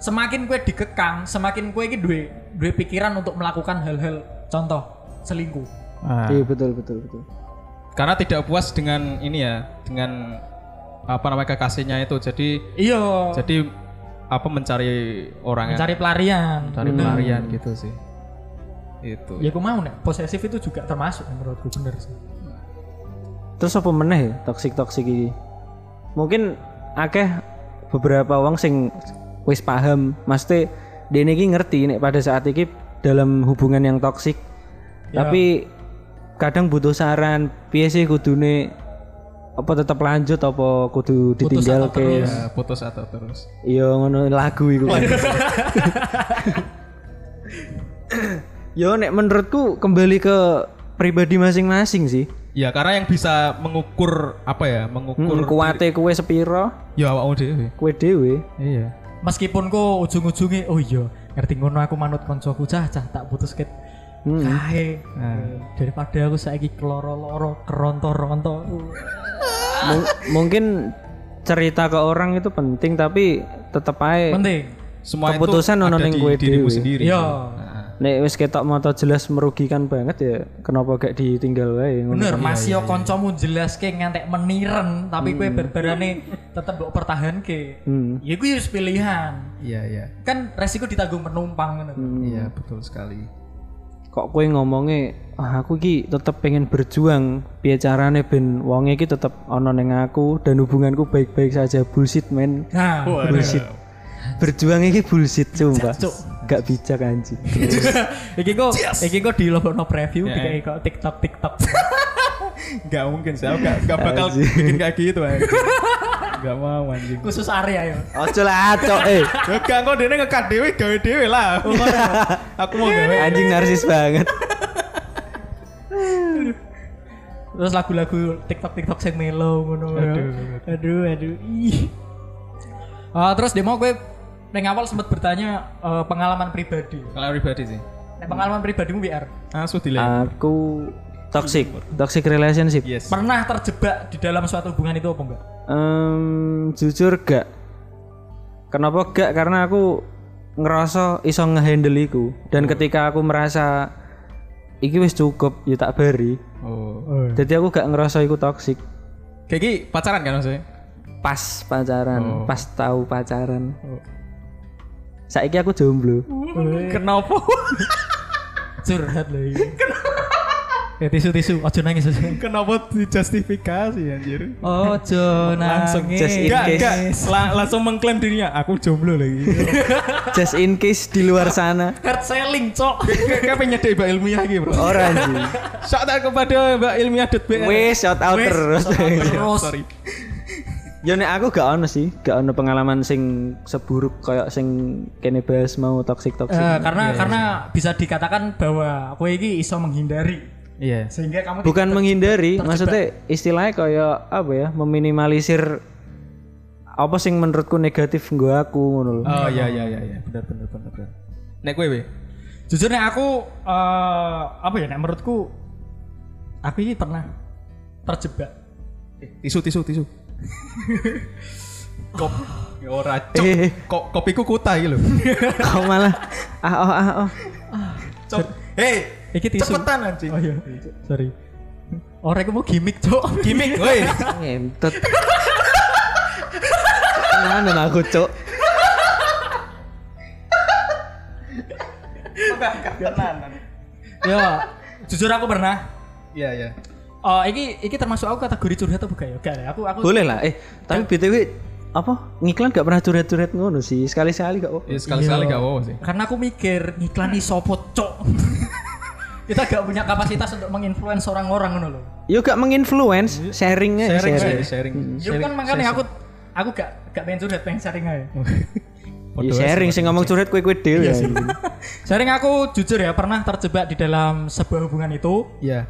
[SPEAKER 2] semakin kue dikekang, semakin kue iki duwe duwe pikiran untuk melakukan hal-hal contoh selingkuh.
[SPEAKER 1] Ah.
[SPEAKER 3] Iya betul betul betul.
[SPEAKER 1] Karena tidak puas dengan ini ya, dengan apa namanya kekasihnya itu. Jadi
[SPEAKER 2] Iya,
[SPEAKER 1] jadi apa mencari orang yang
[SPEAKER 2] mencari pelarian.
[SPEAKER 1] cari pelarian gitu sih. Itu.
[SPEAKER 2] Ya aku mau nek posesif itu juga termasuk menurutku bener sih.
[SPEAKER 3] Terus apa meneh ya toksik toksik iki? Mungkin akeh beberapa wong sing wis paham, mesti dene iki ngerti nek pada saat iki dalam hubungan yang toksik. Tapi kadang butuh saran, piye sih kudune apa tetap lanjut apa kudu ditinggal ke
[SPEAKER 1] Ya, putus atau terus.
[SPEAKER 3] iya ngono lagu iku kan. Yo nek menurutku kembali ke pribadi masing-masing sih.
[SPEAKER 1] Ya karena yang bisa mengukur apa ya, mengukur
[SPEAKER 3] Hmm, kuate kue sepiro,
[SPEAKER 1] ya awakmu dhewe.
[SPEAKER 3] kue dewe.
[SPEAKER 1] Iya.
[SPEAKER 2] Meskipun kok ujung-ujungnya oh iya ngerti ngono aku manut koncoku cah cah tak putus ket kae daripada aku saiki keloro-loro keronto-ronto
[SPEAKER 3] Mung- mungkin cerita ke orang itu penting tapi tetep ae
[SPEAKER 2] penting
[SPEAKER 1] Semua
[SPEAKER 3] Keputusan
[SPEAKER 1] itu
[SPEAKER 3] ono
[SPEAKER 1] ada
[SPEAKER 3] ning
[SPEAKER 1] di
[SPEAKER 3] kowe
[SPEAKER 1] dirimu
[SPEAKER 3] dhewe.
[SPEAKER 1] sendiri.
[SPEAKER 2] Iya.
[SPEAKER 3] nek wis ketok moto jelas merugikan banget ya kenapa gak ditinggal wae ngono.
[SPEAKER 2] Bener, iya, Mas yo kancamu jelaske ngantek meniren, tapi kowe berberane tetep mbok pertahanke.
[SPEAKER 3] Hmm.
[SPEAKER 2] Ya kuwi wis pilihan.
[SPEAKER 1] Iya, iya.
[SPEAKER 2] Kan resiko ditanggung penumpang ngono.
[SPEAKER 1] Iya, betul sekali.
[SPEAKER 3] kok kue ngomongnya ah, aku ki tetep pengen berjuang piye carane ben wonge ki tetep ono ning aku dan hubunganku baik-baik saja bullshit men
[SPEAKER 2] Nah,
[SPEAKER 3] bullshit berjuang iki bullshit sumpah
[SPEAKER 2] Cuk.
[SPEAKER 3] gak bijak anjing
[SPEAKER 2] iki kok iki kok dilebokno preview
[SPEAKER 1] Ya,
[SPEAKER 2] dikai kok TikTok TikTok.
[SPEAKER 1] Enggak mungkin sih, aku enggak bakal
[SPEAKER 3] Anjing.
[SPEAKER 1] bikin kayak gitu aja. Enggak mau anjing.
[SPEAKER 2] Khusus area yo.
[SPEAKER 3] ojo lah acok eh
[SPEAKER 1] Ya enggak kok dene ngekak dhewe gawe dhewe lah. Aku mau gawe.
[SPEAKER 3] anjing narsis banget
[SPEAKER 2] Terus lagu-lagu TikTok TikTok sing melo ngono. yo. Aduh, aduh. Ih. Ah, terus demo gue Neng awal sempat bertanya eh, pengalaman pribadi.
[SPEAKER 1] Kalau pribadi sih.
[SPEAKER 2] Nek pengalaman pribadimu BR
[SPEAKER 1] Asu dilem.
[SPEAKER 3] aku toxic toxic relationship
[SPEAKER 1] Yes.
[SPEAKER 2] pernah terjebak di dalam suatu hubungan itu apa enggak?
[SPEAKER 3] Em, jujur gak kenapa gak karena aku ngerasa iso ngehandle iku dan ketika aku merasa iki wis cukup ya tak bari
[SPEAKER 1] Oh.
[SPEAKER 3] jadi aku gak ngerasa iku toksik
[SPEAKER 1] Kayak gini pacaran kan maksudnya?
[SPEAKER 3] pas pacaran pas tahu pacaran saiki aku jomblo
[SPEAKER 1] Kenapa?
[SPEAKER 2] curhat lagi ya tisu tisu ojo nangis ojo
[SPEAKER 1] Kenapa dijustifikasi anjir?
[SPEAKER 2] ojo
[SPEAKER 1] Langsung
[SPEAKER 3] just in
[SPEAKER 1] Enggak,
[SPEAKER 3] case
[SPEAKER 1] enggak. La- langsung mengklaim dirinya aku jomblo lagi.
[SPEAKER 3] just in case di luar sana
[SPEAKER 2] hard selling cok
[SPEAKER 1] Kayak penyedek Mbak Ilmiah gitu, Bro.
[SPEAKER 3] orang sih
[SPEAKER 1] Shout out kepada Mbak Ilmiah .br.
[SPEAKER 3] wes shout out terus
[SPEAKER 2] terus Eh,
[SPEAKER 1] Sorry.
[SPEAKER 3] Ya nek aku gak ono sih, gak ono pengalaman sing seburuk kayak sing kene bahas mau toksik
[SPEAKER 2] Eh,
[SPEAKER 3] toksik.
[SPEAKER 2] karena karena bisa dikatakan bahwa aku ini iso menghindari
[SPEAKER 1] Iya.
[SPEAKER 2] sehingga kamu
[SPEAKER 3] bukan menghindari maksudnya istilahnya kayak apa ya meminimalisir apa sing menurutku negatif gue aku ngono lho.
[SPEAKER 1] Oh iya iya iya iya benar benar benar. benar. Nek kowe we.
[SPEAKER 2] jujur nih aku eh, apa ya nek menurutku aku ini pernah terjebak
[SPEAKER 1] Eh, Tisu tisu tisu. Kop Ya ora cok.
[SPEAKER 3] Eh.
[SPEAKER 1] Kok kopiku kuta iki lho.
[SPEAKER 3] kau malah ah oh ah oh
[SPEAKER 1] Cok. Hei,
[SPEAKER 2] Iki tisu.
[SPEAKER 1] Cepetan anjing.
[SPEAKER 2] oh iya sorry orang kamu gimmick cok
[SPEAKER 1] Gimik, woi.
[SPEAKER 3] ngentot Tenanan aku cok
[SPEAKER 2] ya jujur aku pernah
[SPEAKER 1] Iya iya.
[SPEAKER 2] Oh, iki iki termasuk aku kategori curhat atau bukan ya? Enggak, ya. aku aku
[SPEAKER 3] boleh lah
[SPEAKER 1] Ya.
[SPEAKER 3] eh tapi btw apa ngiklan gak pernah curhat-curhat ngono sih sekali-sekali gak apa
[SPEAKER 1] Ya sekali-sekali
[SPEAKER 2] Iya.
[SPEAKER 1] gak apa sih.
[SPEAKER 2] Karena aku mikir ngiklan iso sopo cok. Kita gak punya kapasitas untuk menginfluence orang-orang ngono loh.
[SPEAKER 3] yuk gak menginfluence
[SPEAKER 1] Ya.
[SPEAKER 3] sharingnya sharing,
[SPEAKER 1] Iya, Sharing sharing
[SPEAKER 3] sharing.
[SPEAKER 1] sharing.
[SPEAKER 2] Ya kan makanya aku aku gak gak pengen curhat, pengen sharing aja.
[SPEAKER 1] Iya,
[SPEAKER 3] Ya, sharing sing ngomong curhat kue kue deal ya
[SPEAKER 2] sharing aku jujur ya pernah terjebak di dalam sebuah hubungan itu
[SPEAKER 1] Iya.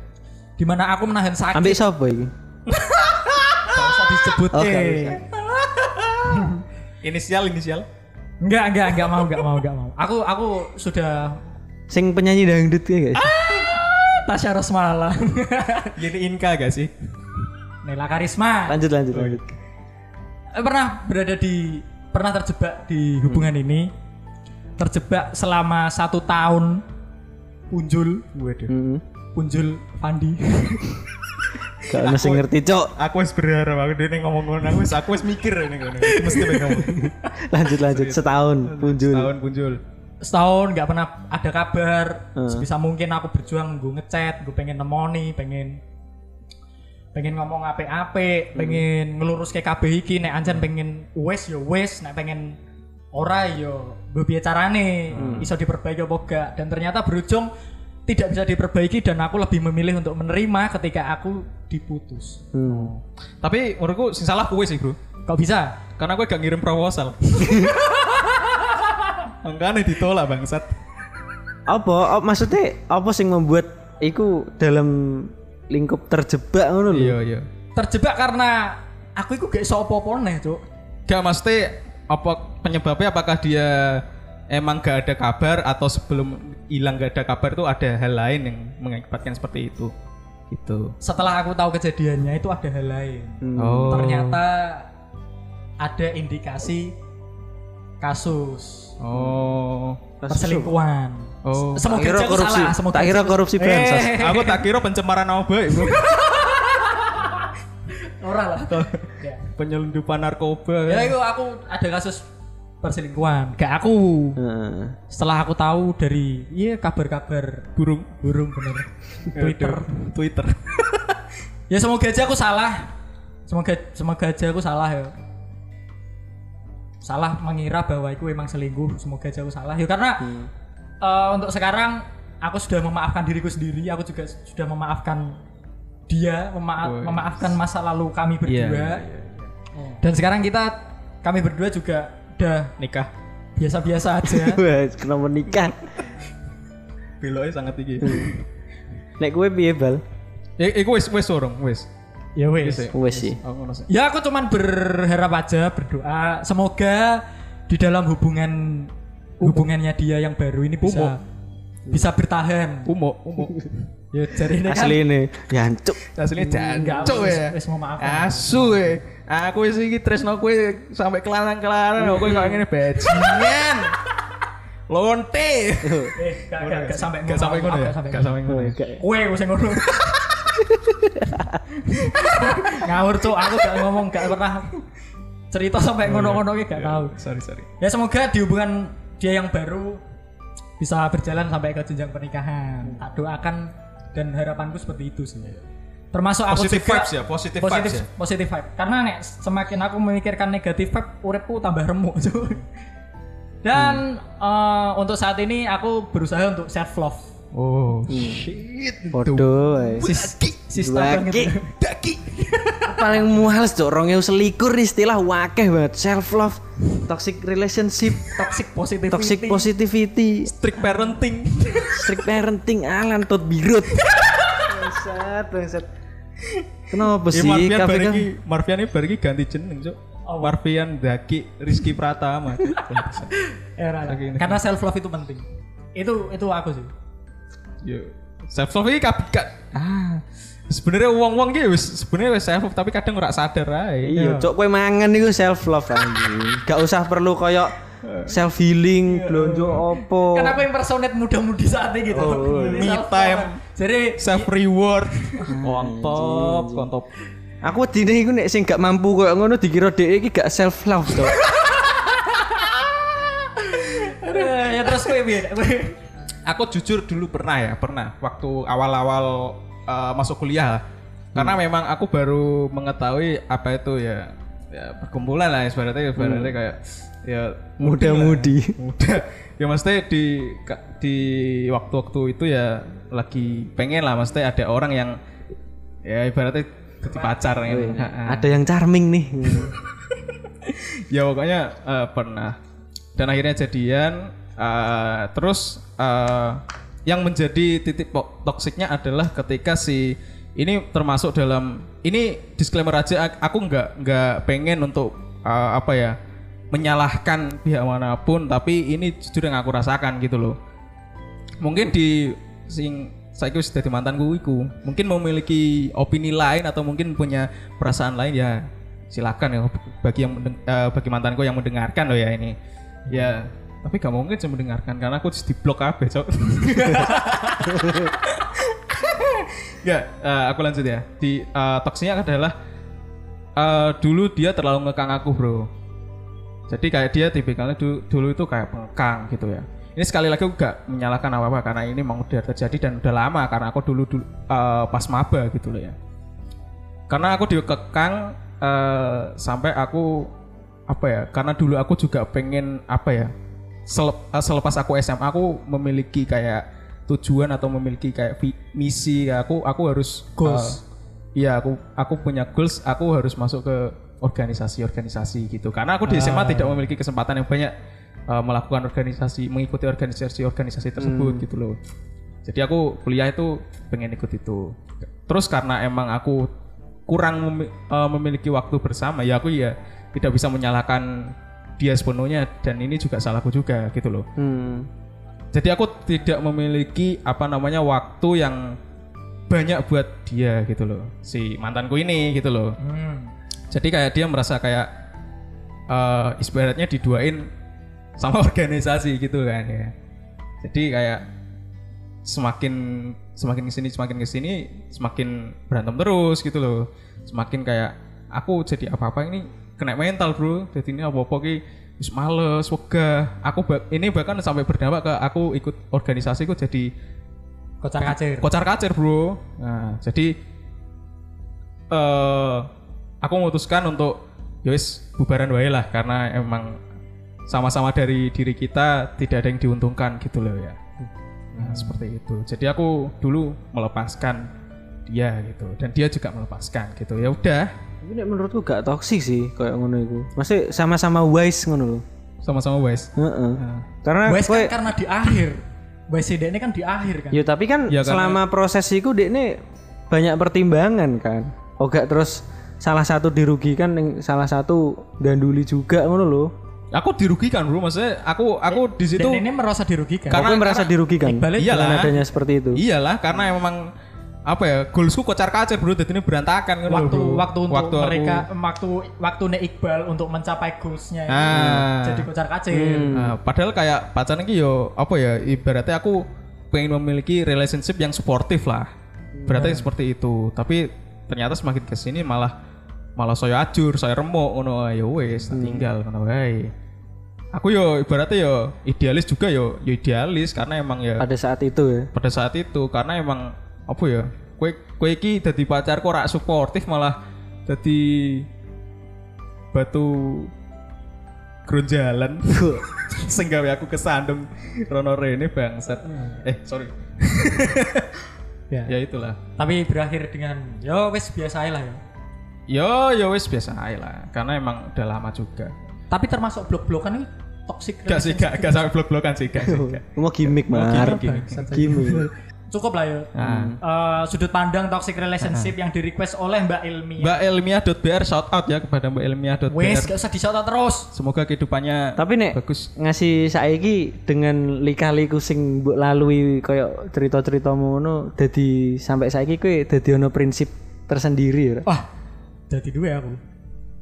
[SPEAKER 2] di mana aku menahan sakit.
[SPEAKER 3] ambil siapa ini
[SPEAKER 2] Gak usah disebut.
[SPEAKER 3] Oh, gak
[SPEAKER 2] eh.
[SPEAKER 3] usah.
[SPEAKER 1] Inisial inisial.
[SPEAKER 2] Enggak, enggak, enggak mau, enggak mau, enggak mau. Aku aku sudah
[SPEAKER 3] sing penyanyi dangdut ya guys
[SPEAKER 1] Ah!
[SPEAKER 2] Tasya Rosmala.
[SPEAKER 1] Jadi Inka gak sih?
[SPEAKER 2] Nela Karisma.
[SPEAKER 3] lanjut lanjut
[SPEAKER 1] Oh,
[SPEAKER 3] lanjut
[SPEAKER 1] iya.
[SPEAKER 2] Eh, pernah berada di pernah terjebak di hubungan ini terjebak selama satu tahun punjul waduh
[SPEAKER 3] Mm-mm.
[SPEAKER 2] punjul Fandi
[SPEAKER 3] Gak ono sing ngerti cok.
[SPEAKER 1] Aku wis berharap aku dene ngomong ngono aku wis aku wis mikir ini ngono. Mesti ben ngomong.
[SPEAKER 3] Lanjut lanjut setahun punjul.
[SPEAKER 1] Tahun punjul.
[SPEAKER 2] setahun nggak pernah ada kabar sebisa mungkin aku berjuang gue ngechat gue pengen nemoni pengen pengen ngomong ape-ape pengen ngelurus ke KB iki nek anjen pengen wes yo wes nek pengen ora yo bebiye carane iso diperbaiki apa gak dan ternyata berujung tidak bisa diperbaiki dan aku lebih memilih untuk menerima ketika aku diputus
[SPEAKER 3] Hmm.
[SPEAKER 1] Tapi menurutku sing salah kowe sih, Bro.
[SPEAKER 2] kok bisa
[SPEAKER 1] Karena gue gak ngirim proposal. Makanya ditolak bangsat.
[SPEAKER 3] Apa apa- maksudnya apa sing membuat iku dalam lingkup terjebak ngono lho.
[SPEAKER 1] Iya iya.
[SPEAKER 2] terjebak karena aku itu gak iso apa-apa nih cuk
[SPEAKER 1] Gak mesti apa penyebabnya apakah dia emang gak ada kabar atau sebelum hilang gak ada kabar tuh ada hal lain yang mengakibatkan seperti itu. Gitu.
[SPEAKER 2] setelah aku tahu kejadiannya itu ada hal lain
[SPEAKER 1] Oh.
[SPEAKER 2] Hmm, ternyata ada indikasi kasus
[SPEAKER 1] Oh.
[SPEAKER 2] perselingkuhan.
[SPEAKER 1] Oh.
[SPEAKER 2] S- Semoga
[SPEAKER 3] Tak kira
[SPEAKER 2] aja aku
[SPEAKER 3] korupsi. Eh.
[SPEAKER 2] salah, semoga
[SPEAKER 3] Tak kira korupsi bansos.
[SPEAKER 1] Aku tak kira pencemaran nama baik, Bro.
[SPEAKER 2] Ora lah. ya.
[SPEAKER 1] Penyelundupan
[SPEAKER 2] ya
[SPEAKER 1] narkoba.
[SPEAKER 2] itu aku ada kasus perselingkuhan. Gak aku.
[SPEAKER 3] Heeh.
[SPEAKER 2] Setelah aku tahu dari iya kabar-kabar
[SPEAKER 1] Burung
[SPEAKER 2] burung bener Twitter.
[SPEAKER 1] Twitter.
[SPEAKER 2] Ya semoga aja aku salah. Semoga semoga aja aku salah ya. Salah mengira bahwa aku emang selingkuh. Semoga aja aku salah ya karena
[SPEAKER 1] Hmm.
[SPEAKER 2] eh, untuk sekarang aku sudah memaafkan diriku sendiri. Aku juga sudah memaafkan dia, mema-
[SPEAKER 1] Wes.
[SPEAKER 2] memaafkan masa lalu kami berdua.
[SPEAKER 1] Oh, Iya, iya,
[SPEAKER 2] Dan sekarang kita kami berdua juga udah
[SPEAKER 1] Nikah.
[SPEAKER 2] biasa-biasa aja.
[SPEAKER 3] Wah, kenapa nikah?
[SPEAKER 1] Beloknya sangat tinggi.
[SPEAKER 3] Nek gue piye bal?
[SPEAKER 1] Eh, iku wis wis sorong, wis.
[SPEAKER 2] ya
[SPEAKER 1] Wis. ya.
[SPEAKER 2] wes.
[SPEAKER 3] Wes sih.
[SPEAKER 1] Aku Oh, ngono sih.
[SPEAKER 2] Ya aku cuman berharap aja berdoa semoga di dalam hubungan hubungannya dia yang baru ini bisa bisa bertahan.
[SPEAKER 1] Umo, umo.
[SPEAKER 2] Ya jadi ini kan
[SPEAKER 3] Asli ini Ya, nyancuk.
[SPEAKER 1] Aslinya
[SPEAKER 2] enggak
[SPEAKER 1] jancuk
[SPEAKER 2] wis,
[SPEAKER 1] ya.
[SPEAKER 2] wis mau maaf.
[SPEAKER 1] Asu ya. Aku wis iki tresno kowe sampai kelarang-kelarang kok kowe kok ngene bajingan. Lonte.
[SPEAKER 2] Eh, gak, gak, gak sampai
[SPEAKER 1] Gak sampai ngono ya. Gak sampai ngono. ya?
[SPEAKER 2] Kowe wis ngono. Ngawur cuk, aku gak ngomong gak pernah cerita
[SPEAKER 1] Iya,
[SPEAKER 2] sampai ngono-ngono ki gak tahu.
[SPEAKER 1] Sorry, sorry.
[SPEAKER 2] Ya semoga di hubungan dia yang baru bisa berjalan sampai ke jenjang pernikahan.
[SPEAKER 1] Hmm.
[SPEAKER 2] Tak doakan dan harapanku seperti itu sih. Termasuk aku
[SPEAKER 1] Iya. Positive
[SPEAKER 2] juga
[SPEAKER 1] vibes ya, positive
[SPEAKER 2] positive,
[SPEAKER 1] vibes ya.
[SPEAKER 2] positive vibe. Karena nek semakin aku memikirkan negatif vibe, uripku tambah remuk. cuy. Dan
[SPEAKER 1] Hmm.
[SPEAKER 2] eh, untuk saat ini aku berusaha untuk self love.
[SPEAKER 1] Oh, shit.
[SPEAKER 3] Podo wae.
[SPEAKER 2] Sis,
[SPEAKER 3] Waki.
[SPEAKER 2] sista banget.
[SPEAKER 1] Daki.
[SPEAKER 3] paling muhales cok 2021 istilah wakeh banget self love, toxic relationship,
[SPEAKER 2] Toxic positivity.
[SPEAKER 3] toxic positivity,
[SPEAKER 1] Strict parenting.
[SPEAKER 3] strict parenting alan tot birut bangsat bangsat kenapa
[SPEAKER 1] Ya,
[SPEAKER 3] sih
[SPEAKER 1] Marvian
[SPEAKER 3] kafe
[SPEAKER 1] bar
[SPEAKER 3] kan
[SPEAKER 1] iki, Marvian iki bar iki ganti jeneng, Cuk. Marvian Daki Rizky Pratama.
[SPEAKER 2] Era.
[SPEAKER 1] Saking ini.
[SPEAKER 2] Karena self love itu penting. Itu itu aku sih.
[SPEAKER 1] Yo. Self love iki kabeh gak- ah. Sebenarnya wong-wong iki wis sebenarnya wis self love tapi kadang ora sadar ae.
[SPEAKER 3] iya cok kowe mangan iku self love anjing gak usah perlu koyok self healing blonjo opo
[SPEAKER 2] Kan aku impersonate muda-mudi saat ini gitu.
[SPEAKER 3] Oh,
[SPEAKER 1] me
[SPEAKER 2] Jadi self-love.
[SPEAKER 1] time.
[SPEAKER 2] Jadi
[SPEAKER 1] Self reward. Kontop, kontop.
[SPEAKER 3] Aku wedine iku nek sing gak mampu koyo ngono dikira dhek iki gak self love to.
[SPEAKER 2] eh, ya terus kowe piye? Kowe-
[SPEAKER 1] Aku jujur dulu pernah ya, pernah waktu awal-awal eh, masuk kuliah lah. Karena memang aku baru mengetahui apa itu ya, ya perkumpulan lah ibaratnya ibaratnya kayak ya
[SPEAKER 3] Muda-mudi.
[SPEAKER 1] muda ya maksudnya di di waktu-waktu itu ya lagi pengen lah maksudnya ada orang yang ya ibaratnya jadi pacar gitu. Ha-ha.
[SPEAKER 3] Nah, Ada yang charming nih.
[SPEAKER 1] ya pokoknya eh, pernah dan akhirnya jadian eh, terus eh, yang menjadi titik po- toksiknya adalah ketika si ini termasuk dalam ini disclaimer aja ak- aku nggak nggak pengen untuk eh, apa ya menyalahkan pihak manapun tapi ini jujur yang aku rasakan gitu loh mungkin di sing saya wis dadi mantanku iku mungkin memiliki opini lain atau mungkin punya perasaan lain ya silakan ya bagi yang mendeng- eh, bagi mantanku yang mendengarkan loh ya ini ya tapi gak mungkin cuma mendengarkan karena aku di blok kabeh cok ya eh, aku lanjut ya di eh, toksinya adalah eh, dulu dia terlalu ngekang aku bro jadi kayak dia tipikalnya du- dulu itu kayak pengkang gitu ya. Ini sekali lagi aku gak menyalahkan apa-apa karena ini memang udah terjadi dan udah lama karena aku dulu, dulu eh, pas maba gitu loh ya. Karena aku dikekang eh, sampai aku apa ya? Karena dulu aku juga pengen apa ya? selep- eh, selepas aku SMA aku memiliki kayak tujuan atau memiliki kayak vi- misi kayak aku aku harus
[SPEAKER 2] Goals.
[SPEAKER 1] eh, Iya, aku aku punya goals, aku harus masuk ke organisasi-organisasi gitu. Karena aku di SMA tidak memiliki kesempatan yang banyak uh, melakukan organisasi, mengikuti organisasi-organisasi tersebut gitu loh. Jadi aku kuliah itu pengen ikut itu. Terus karena emang aku kurang memi- uh, memiliki waktu bersama, ya aku ya tidak bisa menyalahkan dia sepenuhnya dan ini juga salahku juga gitu loh
[SPEAKER 3] Hmm.
[SPEAKER 1] jadi aku tidak memiliki apa namanya waktu yang banyak buat dia gitu loh si mantanku ini gitu loh
[SPEAKER 2] Hmm.
[SPEAKER 1] jadi kayak dia merasa kayak eh ibaratnya diduain sama organisasi gitu kan ya jadi kayak semakin semakin kesini semakin kesini semakin berantem terus gitu loh semakin kayak aku jadi apa apa ini kena mental bro jadi ini apa apa ki wis males wegah aku ba- ini bahkan sampai berdampak ke aku ikut organisasi aku jadi
[SPEAKER 2] Kocak-kacir.
[SPEAKER 1] kocar kacir bro nah jadi eh aku memutuskan untuk yowis bubaran wae lah karena emang sama-sama dari diri kita tidak ada yang diuntungkan gitu loh ya
[SPEAKER 2] Hmm.
[SPEAKER 1] nah, seperti itu jadi aku dulu melepaskan dia gitu dan dia juga melepaskan gitu ya udah
[SPEAKER 3] Tapi nek menurutku gak toksik sih koyo ngono iku. Masih sama-sama wise ngono lho.
[SPEAKER 1] sama-sama wes
[SPEAKER 3] Heeh. Karena
[SPEAKER 2] Wes
[SPEAKER 3] kowe
[SPEAKER 2] kan karena di akhir. Wes ini kan di akhir kan.
[SPEAKER 3] ya tapi kan
[SPEAKER 1] Ya, karena-
[SPEAKER 3] selama proses iku dekne banyak pertimbangan kan. Oh gak terus salah satu dirugikan yang salah satu danduli juga ngono lho.
[SPEAKER 1] aku dirugikan bro maksudnya aku aku di situ
[SPEAKER 2] Dan ini merasa dirugikan.
[SPEAKER 1] Karena-
[SPEAKER 3] Kowe merasa dirugikan
[SPEAKER 2] Iqbalnya
[SPEAKER 3] dengan
[SPEAKER 1] iyalah
[SPEAKER 3] adanya seperti itu.
[SPEAKER 1] iyalah karena emang apa ya goalsku kocar kacir bro jadi ini berantakan kan
[SPEAKER 2] waktu
[SPEAKER 1] bro.
[SPEAKER 2] waktu untuk
[SPEAKER 1] aku-
[SPEAKER 2] mereka waktu waktu nek Iqbal untuk mencapai goalsnya itu
[SPEAKER 1] Ah.
[SPEAKER 2] jadi kocar kacir
[SPEAKER 1] Nah, padahal kayak pacaran iki yo apa ya ibaratnya aku pengen memiliki relationship yang suportif lah. Berarti seperti itu. Tapi ternyata semakin ke sini malah malah saya ajur, saya remuk ngono "Ah, ya wis tak tinggal ngono wae. Aku yo ibaratnya yo idealis juga yo, yo idealis karena emang ya
[SPEAKER 3] Pada saat itu ya.
[SPEAKER 1] pada saat itu karena emang apa ya kue kue iki jadi pacarku rak suportif malah jadi batu gronjalan sehingga aku kesandung Rono Rene bangsat eh sorry
[SPEAKER 2] Hmm. Ya.
[SPEAKER 1] ya itulah
[SPEAKER 2] tapi berakhir dengan yo wes biasa ae lah ya
[SPEAKER 1] yo yo wis biasa aja lah karena emang udah lama juga
[SPEAKER 2] tapi termasuk blok-blokan itu toxic
[SPEAKER 1] gak sih gak gak sampai blok blokan sih gak sih gak.
[SPEAKER 3] Mau gimmick, Mar.
[SPEAKER 1] gimmick, gimmick.
[SPEAKER 3] Gimmick.
[SPEAKER 2] cukup lah ya. Eh, sudut pandang toxic relationship yang di request oleh Mbak Ilmi.
[SPEAKER 1] Mbak Elmia.br shout out ya kepada Mbak
[SPEAKER 2] Wes,
[SPEAKER 1] Elmia.br.
[SPEAKER 2] gak usah disota terus.
[SPEAKER 1] Semoga kehidupannya
[SPEAKER 3] Tapi nek
[SPEAKER 1] bagus.
[SPEAKER 3] ngasih saiki dengan lika-liku sing mbok lalui koyo cerita-ceritamu ngono dadi sampai saiki kowe dadi ono prinsip tersendiri ya.
[SPEAKER 2] Wah, jadi dua aku.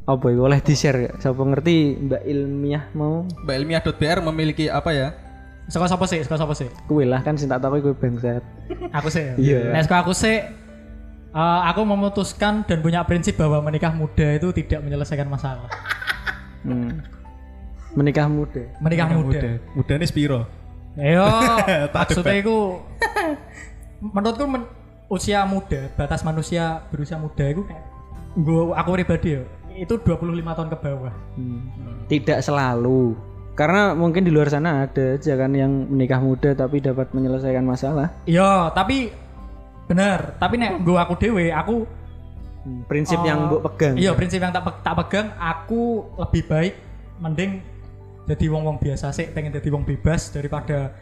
[SPEAKER 3] Apa iku oleh di-share gak? Sapa ngerti Mbak Ilmiah mau
[SPEAKER 1] Mbak Elmia.br memiliki apa ya?
[SPEAKER 2] Saka sapa sih? Saka sapa sih?
[SPEAKER 3] kowe lah kan sing tak takoki kowe bangsat.
[SPEAKER 2] Aku sih.
[SPEAKER 3] Iya.
[SPEAKER 2] Nah, saka aku sih eh, aku memutuskan dan punya prinsip bahwa menikah muda itu tidak menyelesaikan masalah.
[SPEAKER 3] Hmm. Menikah muda.
[SPEAKER 2] Menikah, muda.
[SPEAKER 1] Muda nih Spiro.
[SPEAKER 2] Ayo,
[SPEAKER 1] Tak
[SPEAKER 2] maksudnya itu menurutku men- usia muda, batas manusia berusia muda itu kayak gua aku pribadi ya, itu 25 tahun ke bawah.
[SPEAKER 3] Tidak selalu. Karena mungkin di luar sana ada aja kan yang menikah muda tapi dapat menyelesaikan masalah.
[SPEAKER 2] Iya, tapi bener, tapi nek gua aku dewe, aku
[SPEAKER 3] Hmm, Prinsip yang mbok pegang.
[SPEAKER 2] iya prinsip yang tak, pe- tak pegang aku lebih baik mending jadi wong-wong biasa sih, pengen jadi wong bebas daripada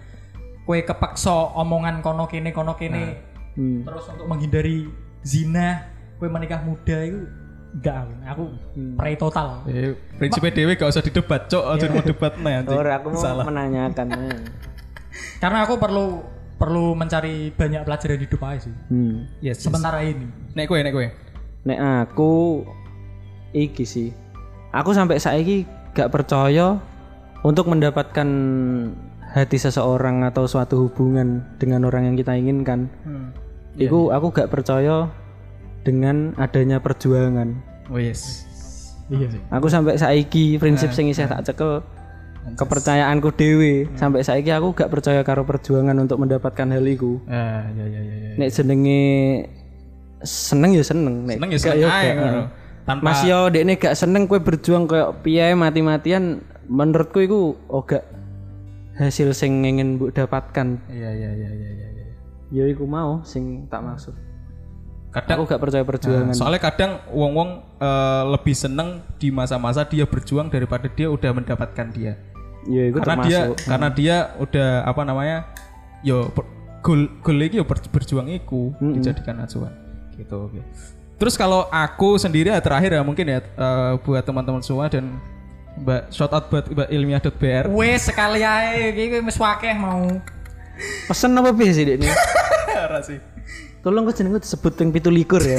[SPEAKER 2] kue kepeksa omongan kono kene kono kene.
[SPEAKER 3] Hmm.
[SPEAKER 2] terus untuk menghindari zina kue menikah muda itu enggak aku, aku pre total
[SPEAKER 1] Eh, Iya. prinsipnya Dewi gak usah didebat, cok. Aja mau debat nih anjing.
[SPEAKER 3] Ora aku mau
[SPEAKER 1] Salah.
[SPEAKER 3] menanyakan.
[SPEAKER 2] karena aku perlu perlu mencari banyak pelajaran hidup aja sih
[SPEAKER 3] hmm.
[SPEAKER 1] Yes.
[SPEAKER 2] sementara ini
[SPEAKER 1] Nek kue, nek kue.
[SPEAKER 3] Nek aku iki sih. Aku sampai saiki gak percaya untuk mendapatkan hati seseorang atau suatu hubungan dengan orang yang kita inginkan.
[SPEAKER 1] Hmm. Iya,
[SPEAKER 3] Iku aku gak percaya dengan adanya perjuangan.
[SPEAKER 1] Oh yes.
[SPEAKER 2] iya
[SPEAKER 3] Aku sampai saiki
[SPEAKER 1] Hmm,
[SPEAKER 3] prinsip sing isih tak cekel kepercayaanku dewe sampai saiki aku gak percaya karo perjuangan untuk mendapatkan hal iku.
[SPEAKER 1] Ah, ya ya ya ya.
[SPEAKER 3] Nek jenenge seneng ya seneng nek
[SPEAKER 1] Seneng ya
[SPEAKER 3] gak
[SPEAKER 1] seneng ae
[SPEAKER 3] gak.
[SPEAKER 1] ngono. Tanpa
[SPEAKER 3] Mas yo dekne gak seneng kue berjuang kayak piye mati-matian menurutku iku oga hasil sing ingin mbok dapatkan
[SPEAKER 1] Iya iya iya iya iya. iya.
[SPEAKER 3] ya iku mau sing tak maksud
[SPEAKER 1] Kadang
[SPEAKER 3] aku gak percaya perjuangan
[SPEAKER 1] soalnya kadang wong-wong eh, lebih seneng di masa-masa dia berjuang daripada dia udah mendapatkan dia.
[SPEAKER 3] ya iku
[SPEAKER 1] karena dia
[SPEAKER 3] termasuk
[SPEAKER 1] karena dia udah apa namanya yo per- goal goal iki yo ber- berjuang iku dijadikan acuan gitu oke terus kalau aku sendiri ya terakhir ya mungkin ya eh, buat teman-teman semua dan mbak shout out buat mbak ilmiah.br
[SPEAKER 2] wes sekali aja kayak wis wakeh mau
[SPEAKER 3] pesen apa piye sih dekne
[SPEAKER 1] Ora sih
[SPEAKER 3] tolong kok jenengku disebut ping 17 ya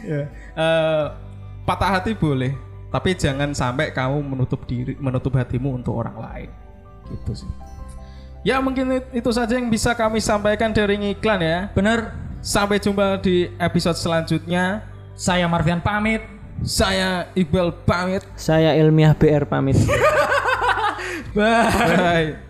[SPEAKER 1] Ya. Eh, patah hati boleh tapi jangan sampai kamu menutup diri menutup hatimu untuk orang lain gitu sih ya mungkin it- itu saja yang bisa kami sampaikan dari iklan ya
[SPEAKER 2] bener
[SPEAKER 1] Sampai jumpa di episode selanjutnya.
[SPEAKER 2] saya Marvian pamit
[SPEAKER 1] Saya Iqbal pamit.
[SPEAKER 3] saya ilmiah BR pamit
[SPEAKER 1] Bye.